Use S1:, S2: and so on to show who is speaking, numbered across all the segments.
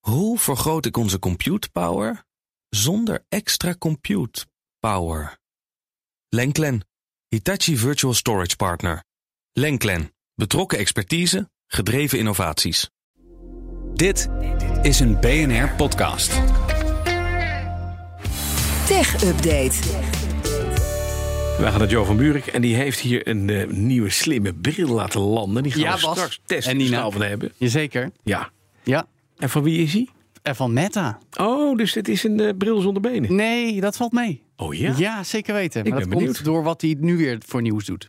S1: hoe vergroot ik onze compute power zonder extra compute power? Lenklen, Hitachi Virtual Storage Partner. Lenklen, betrokken expertise, gedreven innovaties.
S2: Dit is een BNR-podcast.
S3: Tech Update.
S4: We gaan naar Jo van Buurik en die heeft hier een eh, nieuwe slimme bril laten landen. Die gaan
S5: Ja,
S4: we
S5: Bas.
S4: straks testen
S5: En Nina.
S4: snel van hebben.
S5: Jazeker.
S4: Ja.
S5: Ja.
S4: En van wie is hij?
S5: En van Meta.
S4: Oh, dus dit is een eh, bril zonder benen.
S5: Nee, dat valt mee.
S4: Oh ja.
S5: Ja, zeker weten.
S4: Ik
S5: Maar dat
S4: ben benieuwd.
S5: komt door wat hij nu weer voor nieuws doet.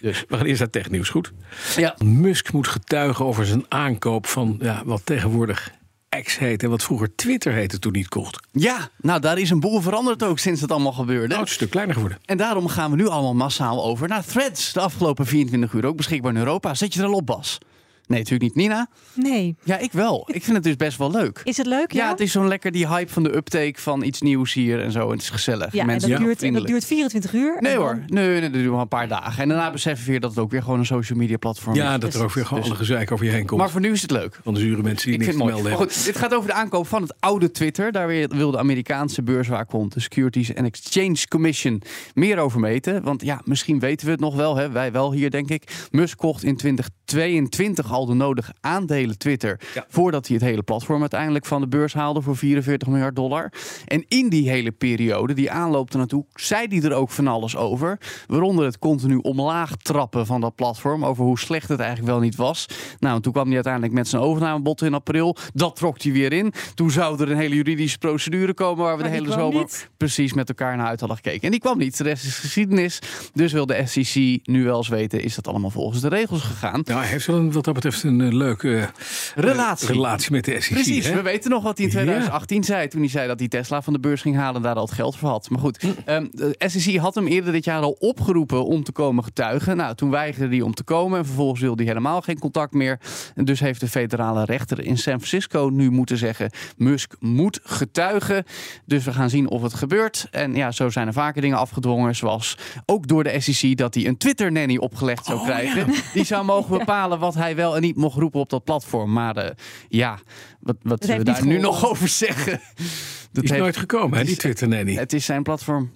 S4: Dus We gaan eerst naar technieuws, goed?
S5: ja.
S4: Musk moet getuigen over zijn aankoop van ja, wat tegenwoordig X heet en wat vroeger Twitter heette toen hij het kocht.
S5: ja, nou daar is een boel veranderd ook sinds dat allemaal gebeurde.
S4: Nou, het is een stuk kleiner geworden.
S5: En daarom gaan we nu allemaal massaal over naar Threads. De afgelopen 24 uur ook beschikbaar in Europa. Zet je er al op, Bas? Nee, natuurlijk niet. Nina?
S6: Nee.
S5: Ja, ik wel. Ik vind het dus best wel leuk.
S6: Is het leuk? Ja,
S5: Ja, het is zo'n lekker die hype van de uptake van iets nieuws hier en zo. En het is gezellig.
S6: Ja, en
S5: Mensen
S6: dat,
S5: zijn
S6: duurt, en dat
S5: vriendelijk.
S6: duurt 24 uur.
S5: Nee
S6: En
S5: hoor,
S6: dan-
S5: nee, nee, dat duurt maar een paar dagen. En daarna beseffen we weer dat het ook weer gewoon een social media platform is. Dus-
S4: Ja, dat er ook weer gewoon alle gezeik over je heen komt.
S5: Maar voor nu is het leuk.
S4: van de zure mensen die
S5: Ik vind
S4: niks te
S5: het mooi.
S4: melden
S5: Maar
S4: hebben.
S5: goed, dit gaat over de aankoop van het oude Twitter. Daar weer wil de Amerikaanse beurswaakhond, de Securities and Exchange Commission, meer over meten. Want ja, misschien weten we het nog wel, hè? wij wel hier denk ik. Musk kocht in 2022 al de nodige aandelen Twitter. Voordat hij het hele platform uiteindelijk van de beurs haalde voor 44 miljard dollar. En in die hele periode, die aanloop ernaartoe, zei hij er ook van alles over. Waaronder het continu omlaag trappen van dat platform. Over hoe slecht het eigenlijk wel niet was. Nou, en toen kwam hij uiteindelijk met zijn overnamebod in april. Dat trok hij weer in. Toen zou er een hele juridische procedure komen waar we
S6: Maar
S5: de
S6: die
S5: hele
S6: kwam
S5: zomer
S6: niet.
S5: precies met elkaar naar uit hadden gekeken. En die kwam niet. De rest is geschiedenis. Dus wil de SEC nu wel eens weten, is dat allemaal volgens de regels gegaan?
S4: Nou, hij heeft wel een, wat dat betreft een eh, leuke eh,
S5: Relatie.
S4: relatie met de SEC.
S5: Precies,
S4: hè?
S5: we weten nog wat hij in
S4: Ja.
S5: 2018 zei. Toen hij zei dat hij Tesla van de beurs ging halen en daar al het geld voor had. Maar goed, ehm, de SEC had hem eerder dit jaar al opgeroepen om te komen getuigen. Nou, toen weigerde hij om te komen en vervolgens wilde hij helemaal geen contact meer. En dus heeft de federale rechter in San Francisco nu moeten zeggen: Musk moet getuigen. Dus we gaan zien of het gebeurt. En ja, zo zijn er vaker dingen afgedwongen, zoals ook door de SEC dat hij een Twitter-nanny opgelegd zou
S4: Oh,
S5: krijgen.
S4: ja.
S5: Die zou mogen bepalen wat hij wel en niet mocht roepen op dat platform. Maar eh, ja, wat, wat zullen we
S6: heeft
S5: daar
S6: niet
S5: nu
S6: geholpen.
S5: nog over zeggen? Dat
S4: Die is
S5: heeft-
S4: nooit gekomen, hè, die
S5: is-
S4: Twitter-nanny.
S5: Het is zijn platform.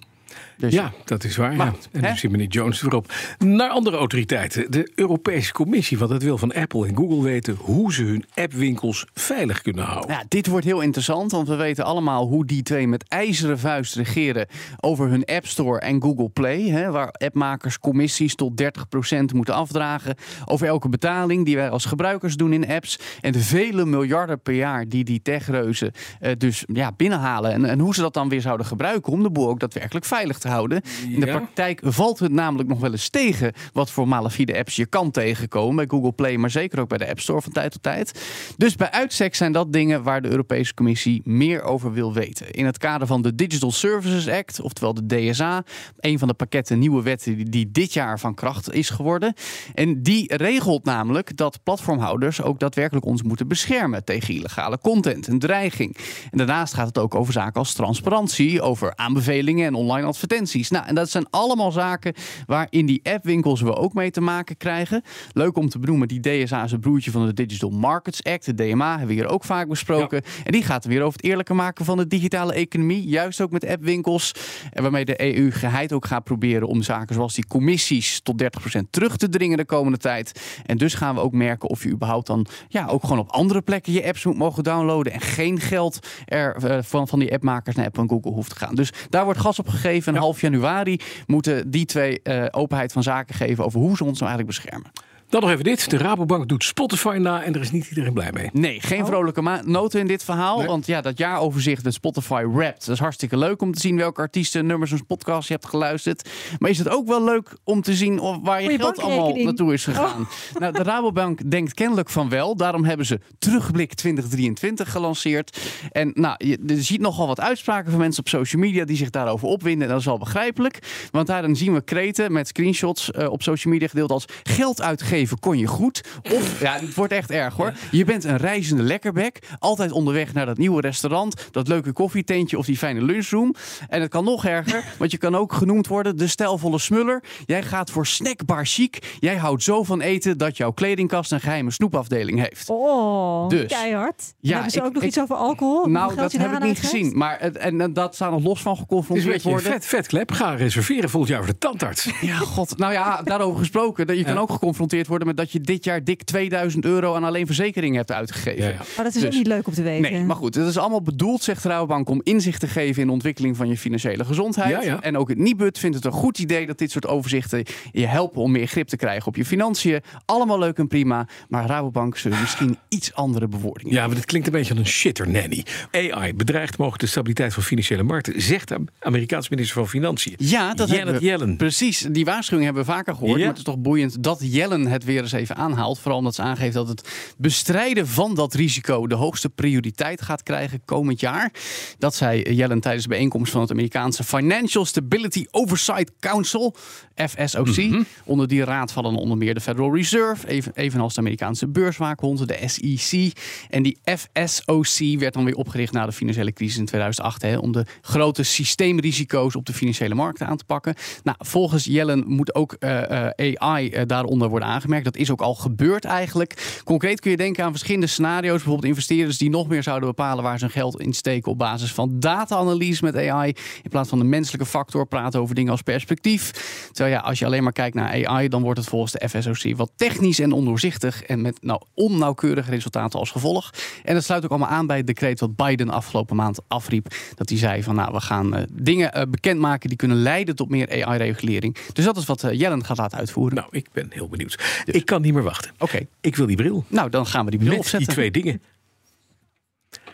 S5: Dus
S4: Ja, dat is waar. ja.
S5: goed,
S4: En nu
S5: hè?
S4: zit meneer Jones erop. Naar andere autoriteiten. De Europese Commissie, want het wil van Apple en Google weten hoe ze hun appwinkels veilig kunnen houden.
S5: Ja, dit wordt heel interessant, want we weten allemaal hoe die twee met ijzeren vuist regeren over hun App Store en Google Play. Hè, waar appmakers commissies tot 30% moeten afdragen over elke betaling die wij als gebruikers doen in apps. En de vele miljarden per jaar die die techreuzen eh, dus ja, binnenhalen. En, en hoe ze dat dan weer zouden gebruiken om de boel ook daadwerkelijk veilig te houden. In de
S4: Ja.
S5: praktijk valt het namelijk nog wel eens tegen wat voor malafide apps je kan tegenkomen. Bij Google Play, maar zeker ook bij de App Store van tijd tot tijd. Dus bij uitstek zijn dat dingen waar de Europese Commissie meer over wil weten. In het kader van de Digital Services Act, oftewel de DSA, een van de pakketten nieuwe wetten die, die dit jaar van kracht is geworden. En die regelt namelijk dat platformhouders ook daadwerkelijk ons moeten beschermen tegen illegale content en dreiging. En daarnaast gaat het ook over zaken als transparantie, over aanbevelingen en online advertenties. Nou, en dat zijn allemaal zaken waar in die appwinkels we ook mee te maken krijgen. Leuk om te benoemen, die DSA is een broertje van de Digital Markets Act, de DMA, hebben we hier ook vaak besproken. En die gaat weer over het eerlijker maken van de digitale economie, juist ook met appwinkels. En waarmee de EU geheid ook gaat proberen om zaken zoals die commissies tot 30% terug te dringen de komende tijd. En dus gaan we ook merken of je überhaupt dan ja, ook gewoon op andere plekken je apps moet mogen downloaden. En geen geld er eh, van, van die appmakers naar Apple en Google hoeft te gaan. Dus daar wordt gas op gegeven. En half januari moeten die twee eh, openheid van zaken geven over hoe ze ons nou eigenlijk beschermen.
S4: Dan nog even dit. De Rabobank doet Spotify na en er is niet iedereen blij mee.
S5: Nee, geen vrolijke ma- noten in dit verhaal.
S4: Nee.
S5: Want ja, dat jaaroverzicht dat Spotify Wrapped. Dat is hartstikke leuk om te zien welke artiesten, nummers en podcasts je hebt geluisterd. Maar is het ook wel leuk om te zien of waar je,
S6: Voor je
S5: geld allemaal
S6: bankrekening.
S5: naartoe is gegaan? Nou, de Rabobank denkt kennelijk van wel. Daarom hebben ze Terugblik 2023 gelanceerd. En nou, je, je ziet nogal wat uitspraken van mensen op social media die zich daarover opwinden. En dat is wel begrijpelijk. Want daarin zien we kreten met screenshots eh, op social media gedeeld als geld uitgeven geven kon je goed. Of, ja, het wordt echt erg hoor. Je bent een reizende lekkerbek. Altijd onderweg naar dat nieuwe restaurant. Dat leuke koffietentje of die fijne lunchroom. En het kan nog erger, want je kan ook genoemd worden de stijlvolle smuller. Jij gaat voor snackbar chic. Jij houdt zo van eten dat jouw kledingkast een geheime snoepafdeling heeft.
S3: Oh,
S5: Dus.
S3: keihard.
S5: Ja,
S3: Hebben ze
S5: ik-
S3: ook nog
S5: ik-
S3: iets over alcohol?
S5: Nou,
S3: Hoeveel geld
S5: dat
S3: je
S5: heb ik
S3: daaraan
S5: niet
S3: uitgeeft?
S5: gezien. Maar het, en, en dat staan nog los van
S4: Dus
S5: geconfronteerd
S4: weet je,
S5: worden.
S4: vet, vetklep, ga reserveren volgend jaar voor de tandarts.
S5: Ja, god. Nou ja, daarover gesproken. Dat je kan ook geconfronteerd worden met dat je dit jaar dik 2000 euro aan alleen verzekeringen hebt uitgegeven.
S4: Ja, ja.
S3: Maar dat is
S5: Dus.
S3: ook niet leuk om te weten.
S5: Nee, maar goed, het is allemaal bedoeld, zegt de Rabobank, om inzicht te geven in de ontwikkeling van je financiële gezondheid.
S4: Ja, ja.
S5: En ook het Nibud vindt het een goed idee dat dit soort overzichten je helpen om meer grip te krijgen op je financiën. Allemaal leuk en prima, maar Rabobank zullen misschien iets andere bewoordingen.
S4: Ja, maar dit klinkt een beetje als een shitter nanny. AI bedreigt mogelijk de stabiliteit van financiële markten, zegt de Amerikaanse minister van Financiën.
S5: Ja, dat
S4: Janet
S5: hebben we.
S4: Yellen.
S5: Precies, die waarschuwing hebben we vaker gehoord.
S4: Ja.
S5: Maar het is toch boeiend dat Jellen het weer eens even aanhaalt. Vooral omdat ze aangeeft dat het bestrijden van dat risico de hoogste prioriteit gaat krijgen komend jaar. Dat zei Jellen tijdens de bijeenkomst van het Amerikaanse Financial Stability Oversight Council, FSOC. Onder die raad vallen onder meer de Federal Reserve, even, evenals de Amerikaanse beurswaakhond, de E SEC. En die FSOC werd dan weer opgericht na de financiële crisis in 2008 hè, om de grote systeemrisico's op de financiële markten aan te pakken. Nou, volgens Jellen moet ook eh, eh, AI eh, daaronder worden aangemerkt. Dat is ook al gebeurd eigenlijk. Concreet kun je denken aan verschillende scenario's. Bijvoorbeeld investeerders die nog meer zouden bepalen waar ze hun geld in steken op basis van data-analyse met AI. In plaats van de menselijke factor praten over dingen als perspectief. Terwijl ja, als je alleen maar kijkt naar AI, dan wordt het volgens de FSOC wat technisch en ondoorzichtig. En met nou, onnauwkeurige resultaten als gevolg. En dat sluit ook allemaal aan bij het decreet wat Biden afgelopen maand afriep. Dat hij zei van nou, we gaan eh, dingen eh, bekendmaken die kunnen leiden tot meer AI-regulering. Dus dat is wat eh, Jellen gaat laten uitvoeren.
S4: Nou, ik ben heel benieuwd. Ik kan niet meer wachten.
S5: Oké,
S4: Ik wil die bril.
S5: nou dan gaan we die bril
S4: met die
S5: opzetten.
S4: twee dingen.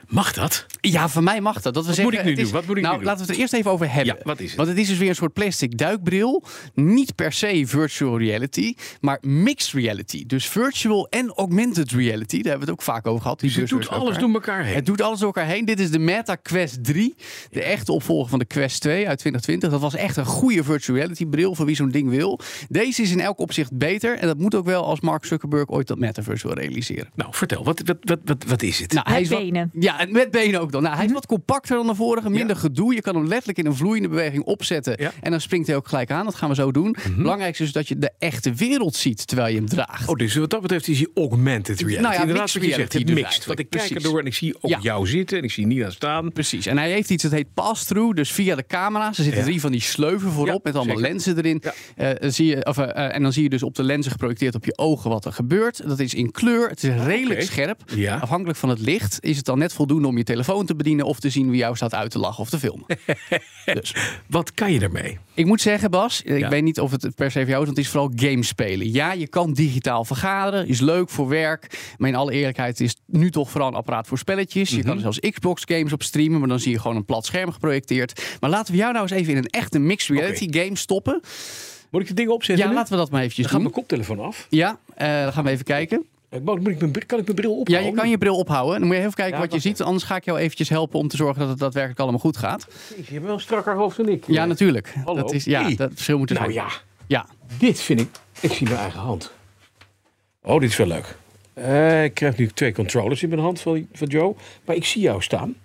S4: Mag dat?
S5: Ja, van mij mag dat. dat we
S4: Wat
S5: zeggen,
S4: moet ik nu
S5: het is-
S4: doen? Wat moet ik
S5: nou,
S4: nu doen?
S5: laten we het er eerst even over hebben.
S4: Ja, wat is het?
S5: Want het is dus weer een soort plastic duikbril. Niet per se virtual reality, maar mixed reality. Dus virtual en augmented reality. Daar hebben we het ook vaak over gehad. Die
S4: Dus het
S5: buzzwords
S4: doet
S5: bij
S4: alles
S5: elkaar.
S4: door elkaar heen.
S5: Het doet alles door elkaar heen. Dit is de Meta Quest 3. De echte opvolger van de Quest 2 uit 2020. Dat was echt een goede virtual reality bril voor wie zo'n ding wil. Deze is in elk opzicht beter. En dat moet ook wel als Mark Zuckerberg ooit dat metaverse wil realiseren.
S4: Nou, vertel, wat, wat, wat, wat, wat is het?
S5: Nou, hij is
S3: Met
S5: wat-
S3: benen.
S5: ja, en met benen ook dan. Nou, hij is wat compacter dan de vorige, minder gedoe. Je kan hem letterlijk in een vloeiende beweging opzetten.
S4: Ja.
S5: En dan springt hij ook gelijk aan. Dat gaan we zo doen. Belangrijk is dat je de echte wereld ziet terwijl je hem draagt.
S4: Oh, dus wat dat betreft is die augmented reality.
S5: Nou ja,
S4: Inderdaad,
S5: mixed
S4: wat je zegt,
S5: reality
S4: die
S5: dus
S4: mixed.
S5: eigenlijk,
S4: Want ik kijk
S5: precies.
S4: erdoor en ik zie ook
S5: Ja.
S4: jou zitten en ik zie Nina staan.
S5: Precies. En hij heeft iets dat heet pass-through. Dus via de camera's. Er zitten
S4: Ja.
S5: drie van die sleuven voorop
S4: Ja,
S5: met allemaal
S4: zeker.
S5: lenzen erin.
S4: Ja.
S5: Eh, dan zie je, of, eh, eh, en dan zie je dus op de lenzen geprojecteerd op je ogen wat er gebeurt. Dat is in kleur. Het is redelijk
S4: oké.
S5: scherp.
S4: Ja.
S5: Afhankelijk van het licht is het dan net voldoende om je telefoon te bedienen of te zien wie jou staat uit te lachen of te filmen.
S4: Wat kan je daarmee?
S5: Ik moet zeggen, Bas, ik
S4: Ja.
S5: weet niet of het per se voor jou is, want het is vooral games spelen. Ja, je kan digitaal vergaderen, is leuk voor werk. Maar in alle eerlijkheid is het nu toch vooral een apparaat voor spelletjes. Je kan
S4: Mhm.
S5: er zelfs Xbox games op streamen, maar dan zie je gewoon een plat scherm geprojecteerd. Maar laten we jou nou eens even in een echte mixed reality game stoppen.
S4: Moet ik de dingen opzetten?
S5: Ja,
S4: nu?
S5: laten we dat maar eventjes
S4: Dan gaat
S5: doen.
S4: mijn koptelefoon af.
S5: Ja, eh, dan gaan we even kijken.
S4: Eh, Moet moet ik mijn, bril- kan ik mijn bril
S5: Ja,
S4: ophouden?
S5: je kan je bril ophouden. Dan moet je even kijken
S4: Ja,
S5: wat je
S4: wacht
S5: ziet. Anders ga ik jou eventjes helpen om te zorgen dat het daadwerkelijk allemaal goed gaat.
S4: Je hebt wel een strakker hoofd dan ik.
S5: Ja, natuurlijk.
S4: Hallo.
S5: Dat is, ja,
S4: Hey.
S5: dat verschil moet er
S4: Nou
S5: zijn.
S4: ja,
S5: Ja.
S4: dit vind ik... Ik zie mijn eigen hand. Oh, dit is wel leuk. Eh, ik krijg nu twee controllers in mijn hand van, van Joe. Maar ik zie jou staan.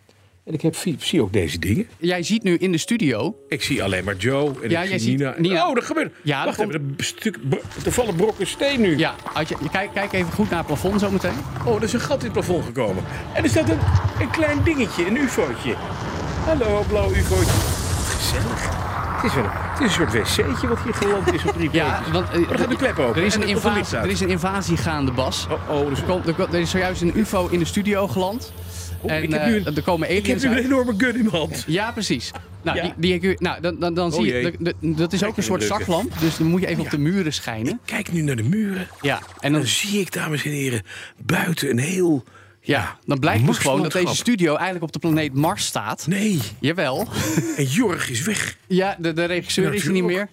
S4: En ik heb, zie, zie ook deze dingen.
S5: Jij ziet nu in de studio
S4: Ik zie alleen maar Joe en
S5: Ja,
S4: ik
S5: jij
S4: zie
S5: ziet
S4: Nina.
S5: Nina.
S4: Oh, er gebeurt...
S5: Ja,
S4: Wacht
S5: er komt-
S4: even, er, stuk, bro- er vallen brokken steen nu.
S5: Ja, als je, je kijk, kijk even goed naar het plafond zometeen.
S4: Oh, er is een gat in het plafond gekomen. En er staat een, een klein dingetje, een ufootje. Hallo, blauw ufootje. Gezellig. Het is, wel, het is een soort wc'tje wat hier geland is op drie
S5: Ja,
S4: plekjes.
S5: want eh,
S4: Maar er gaat een klep open
S5: Er is
S4: en
S5: een,
S4: er komt een licht
S5: invasie,
S4: uit.
S5: er is een invasie gaande, Bas.
S4: Oh, oh, dus
S5: Er, komt, er, komt- er is zojuist een UFO in de studio geland.
S4: Oeh,
S5: en
S4: Oh, ik heb nu
S5: eh,
S4: een-
S5: er komen
S4: ik heb
S5: aliens
S4: nu een
S5: uit.
S4: enorme gun in mijn hand.
S5: Ja, precies. Nou,
S4: Ja. Oh
S5: die, die, heb je- nou dan, dan, dan zie je.
S4: jee.
S5: de- de- dat is ook een
S4: Kijk,
S5: soort
S4: een leuke.
S5: zaklamp. Dus dan moet je even op de muren schijnen.
S4: Kijk nu naar de muren.
S5: Ja, en dan,
S4: Dan zie ik, dames en heren, buiten een heel...
S5: ja, dan blijkt dus gewoon dat deze
S4: Marslandschap.
S5: studio eigenlijk op de planeet Mars staat.
S4: Nee,
S5: Jawel.
S4: en Jorg is weg.
S5: Ja, de, de regisseur is er niet meer.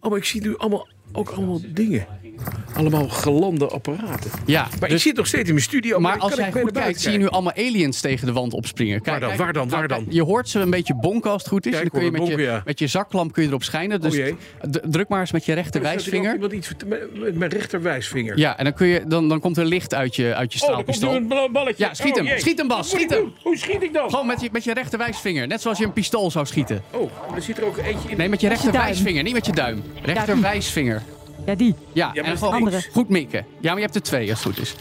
S4: Oh, maar ik zie nu allemaal, ook allemaal dingen. allemaal gelande apparaten.
S5: Ja,
S4: Maar ik
S5: dus-
S4: zit nog steeds in mijn studio.
S5: maar
S4: dan
S5: als
S4: kan Oh,
S5: jij
S4: ik weer
S5: goed
S4: naar
S5: kijkt,
S4: buiten
S5: zie je nu allemaal aliens tegen de wand opspringen. Kijk,
S4: dan,
S5: kijk,
S4: waar dan,
S5: nou,
S4: waar
S5: kijk,
S4: dan?
S5: Je hoort ze een beetje bonken als het goed is.
S4: Ja,
S5: en
S4: ik
S5: dan kun je
S4: hoor
S5: met,
S4: het
S5: je,
S4: bonken, ja.
S5: met je zaklamp kun je erop schijnen. Dus
S4: Oh jee.
S5: d- druk maar eens met je rechter
S4: kijken. Er staat hier ook
S5: wijsvinger.
S4: Iemand iets met- met, met mijn rechterwijsvinger.
S5: Ja, en dan, kun je, dan, dan komt er licht uit je, uit je
S4: oh, daar komt nu
S5: straalpistool.
S4: een bla- balletje.
S5: Ja, schiet
S4: Oh,
S5: hem.
S4: jee.
S5: Schiet hem, Bas,
S4: Wat moet
S5: schiet
S4: ik
S5: hem.
S4: doen? Hoe schiet ik dan?
S5: Gewoon met je, met je rechter wijsvinger. Net zoals je een pistool zou schieten.
S4: Oh, er zit er ook eentje in.
S5: Nee, met je rechter
S3: duim.
S5: wijsvinger, niet met je duim. Rechter wijsvinger.
S3: Ja, die.
S5: Ja,
S4: maar
S5: en
S4: is
S5: gewoon
S4: andere.
S5: goed mikken. Ja, maar je hebt er twee, als het goed is.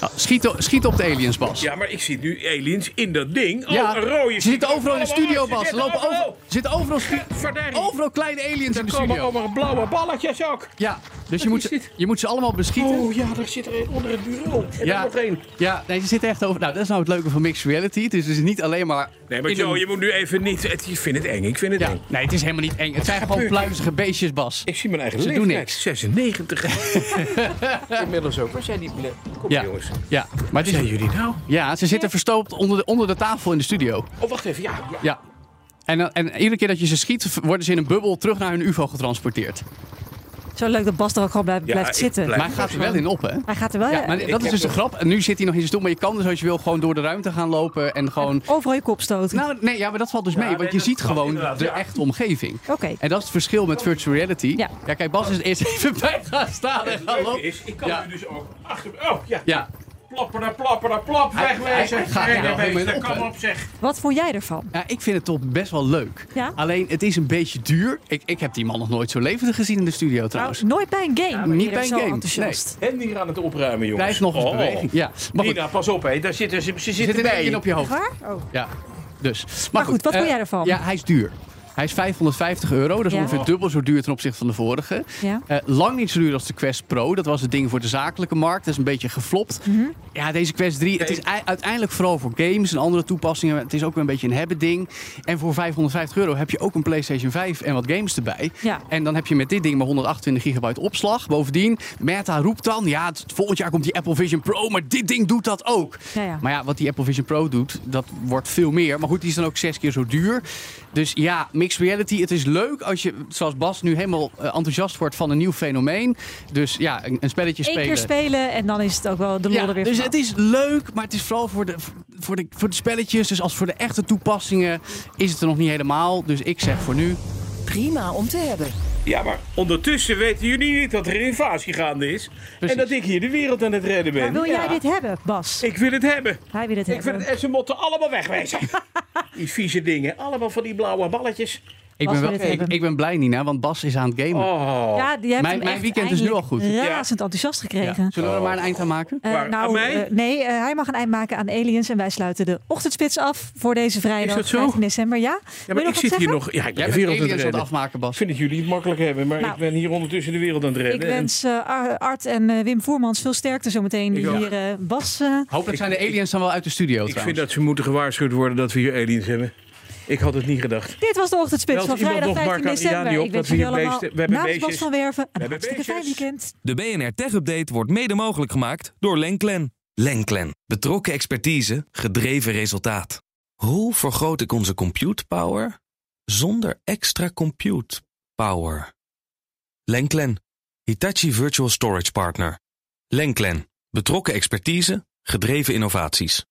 S5: Nou, Schiet, o- schiet op de aliens, Bas.
S4: Ja, maar ik zit nu aliens in dat ding.
S5: Ja,
S4: oh, een rode.
S5: ze zitten overal in de
S4: Oh,
S5: studio,
S4: oh, ze
S5: Bas. Er
S4: zitten
S5: lopen over, er zitten overal, stu-
S4: Gadverdarie.
S5: overal kleine aliens in
S4: Er
S5: de
S4: komen
S5: studio.
S4: allemaal blauwe balletjes ook.
S5: Ja, dus
S4: Wat
S5: je moet,
S4: is
S5: ze,
S4: dit?
S5: je moet ze allemaal beschieten.
S4: Oh ja, daar zit er een onder het bureau. En
S5: ja,
S4: ja. nog één.
S5: ja, nee, ze zitten echt over. Nou, dat is nou het leuke van mixed reality. Het is dus niet alleen maar.
S4: Nee, maar
S5: in
S4: Joe,
S5: een-
S4: je moet nu even niet... Het, ik vind het eng, ik vind het
S5: ja,
S4: eng.
S5: nee, het is helemaal niet eng. Het zijn gewoon
S4: gebeurt hier?
S5: pluizige beestjes, Bas.
S4: Ik zie mijn eigen
S5: Ze doen
S4: leeftijd.
S5: niks.
S4: 96. Inmiddels ook. Waar zijn die... ble- Kom
S5: Ja,
S4: jongens.
S5: ja, maar het
S4: Zijn
S5: is,
S4: jullie nou?
S5: ja, ze zitten verstopt onder de, onder de tafel in de studio.
S4: Oh, wacht even. Ja, ja.
S5: Ja. En, dan- en iedere keer dat je ze schiet, v- worden ze in een bubbel terug naar hun UFO getransporteerd.
S3: Zo leuk dat Bas er ook gewoon blijft,
S4: Ja,
S3: blijft
S4: ik
S3: zitten.
S4: blijf-
S5: Maar hij gaat er wel in op, hè?
S3: Hij gaat er wel...
S5: Ja, maar dat is
S4: heb
S5: dus de
S4: nog-
S5: grap. En nu zit hij nog in zijn stoel, maar je kan dus als je wil gewoon door de ruimte gaan lopen en gewoon...
S3: Overal je kop stoten.
S5: Nou, nee, ja, maar dat valt dus mee,
S4: nee,
S5: want je
S4: dat
S5: ziet
S4: klopt,
S5: gewoon
S4: inderdaad,
S5: de
S4: ja.
S5: echte omgeving.
S3: Oké.
S5: En dat is het verschil met virtual reality.
S3: Ja.
S5: ja kijk, Bas is eerst even bij gaan staan en gaan
S4: Het leuke
S5: lopen.
S4: is, ik kan
S5: Ja.
S4: nu dus ook achter... Oh, ja.
S5: Ja,
S4: Plapper naar plapper naar plap.
S5: Hij-
S4: Wegwezen.
S5: hij gaat er wel
S4: Wegwezen.
S5: helemaal in op,
S4: Kom
S5: hè?
S4: op, zeg.
S3: Wat vond jij ervan?
S5: ja, ik vind het toch best wel leuk.
S3: Ja?
S5: Alleen, het is een beetje duur. Ik, ik heb die man nog nooit zo levendig gezien in de studio trouwens.
S3: Nou, Nooit bij een game.
S5: niet
S3: eerder
S5: bij een
S3: zo
S5: game,
S3: enthousiast.
S4: En die aan het opruimen, jongens.
S5: Hij heeft nog eens
S4: Oh.
S5: beweging. Ja, maar goed,
S4: Nina, pas op, hè. Daar zitten ze, ze
S5: zit
S4: zitten
S5: er een
S4: bij
S5: één
S4: je.
S5: op je hoofd.
S3: Waar? Oh.
S5: Ja, dus. Maar,
S3: Nou goed, wat
S5: eh,
S3: vond jij ervan?
S5: Ja, hij is duur. Hij is 550 euro, dat is
S3: Ja.
S5: ongeveer dubbel zo duur ten opzichte van de vorige.
S3: Ja.
S5: Eh, lang niet zo duur als de Quest Pro, dat was het ding voor de zakelijke markt. Dat is een beetje geflopt.
S3: Mhm.
S5: Ja, deze Quest 3, het is ei- uiteindelijk vooral voor games en andere toepassingen. maar Het is ook wel een beetje een hebben ding. En voor 550 euro heb je ook een PlayStation 5 en wat games erbij.
S3: Ja.
S5: En dan heb je met dit ding maar 128 gigabyte opslag. Bovendien, Meta roept dan, ja, het- volgend jaar komt die Apple Vision Pro, maar dit ding doet dat ook.
S3: Ja, ja.
S5: Maar ja, wat die Apple Vision Pro doet, dat wordt veel meer. Maar goed, die is dan ook zes keer zo duur. Dus ja, mixed reality, het is leuk als je, zoals Bas, nu helemaal eh, enthousiast wordt van een nieuw fenomeen. Dus ja, een, een spelletje
S3: Eén
S5: spelen.
S3: keer spelen en dan is het ook wel de lol
S5: Ja,
S3: er weer
S5: dus
S3: vanaf.
S5: het is leuk, maar het is vooral voor de, voor, de, voor de spelletjes. Dus als voor de echte toepassingen is het er nog niet helemaal. Dus ik zeg voor nu,
S6: Prima om te hebben.
S4: Ja, maar ondertussen weten jullie niet dat er een invasie gaande is.
S5: Precies.
S4: En dat ik hier de wereld aan het redden ben.
S3: Maar wil jij
S4: Ja.
S3: dit hebben, Bas?
S4: Ik wil het hebben.
S3: Hij wil het
S4: Ik wil
S3: hebben.
S4: het en ze moeten allemaal wegwezen. die vieze dingen. Allemaal van die blauwe balletjes.
S5: ik
S3: Bas
S5: ben, wel,
S3: wil het
S5: ik,
S3: hebben.
S5: ik ben blij Nina, want Bas is aan het gamen.
S4: Oh.
S3: Ja, die hebt
S5: Mijn-
S3: hem
S5: mijn
S3: echt
S5: weekend is nu al goed.
S3: eindelijk razend enthousiast
S5: Ja.
S3: gekregen.
S5: Zullen we er maar een eind aan maken?
S3: Eh,
S4: Maar
S3: nou,
S4: aan mij?
S3: eh, nee, eh, hij mag een eind maken aan Aliens. En wij sluiten de ochtendspits af voor deze vrijdag,
S4: Is dat zo?
S3: 15 december. Ja,
S4: ja,
S3: Wil
S4: maar
S3: je nog
S4: ik
S3: wat
S4: zit hier
S3: zeggen?
S4: nog. Ja, ik ben
S5: Jij
S4: de
S5: bent
S4: wereld aan
S5: aliens
S4: het
S5: aan het
S4: redden.
S5: afmaken,
S4: Ik
S5: Bas.
S4: vind dat jullie het makkelijk hebben, maar
S3: Nou.
S4: ik ben hier ondertussen de wereld aan het
S3: Ik
S4: redden. En
S3: wens eh, Ar- Art en eh, Wim Voermans veel sterkte zometeen. Die
S4: Ik ook.
S3: hier eh, Bas. eh,
S5: Hopelijk zijn de aliens dan wel uit de studio
S4: ik vind
S5: trouwens.
S4: dat ze moeten gewaarschuwd worden dat we hier aliens hebben. Ik had het niet gedacht.
S3: dit was de ochtendspits
S4: Belt
S3: van
S4: iemand
S3: vrijdag
S4: nog
S3: 15
S4: Mark
S3: december.
S4: Adriani op
S3: Ik wens
S4: dat we
S3: jullie
S4: hier
S3: allemaal
S4: beesten- we hebben
S3: namens Bas
S4: beestjes.
S3: van Werven een
S4: hebben
S3: hartstikke fijn
S4: beestjes.
S3: weekend.
S1: De BNR Tech Update wordt mede mogelijk gemaakt door Lenklen. Lenklen. Betrokken expertise, gedreven resultaat. Hoe vergroot ik onze compute power zonder extra compute power? Lenklen. Hitachi Virtual Storage Partner. Lenklen. Betrokken expertise, gedreven innovaties.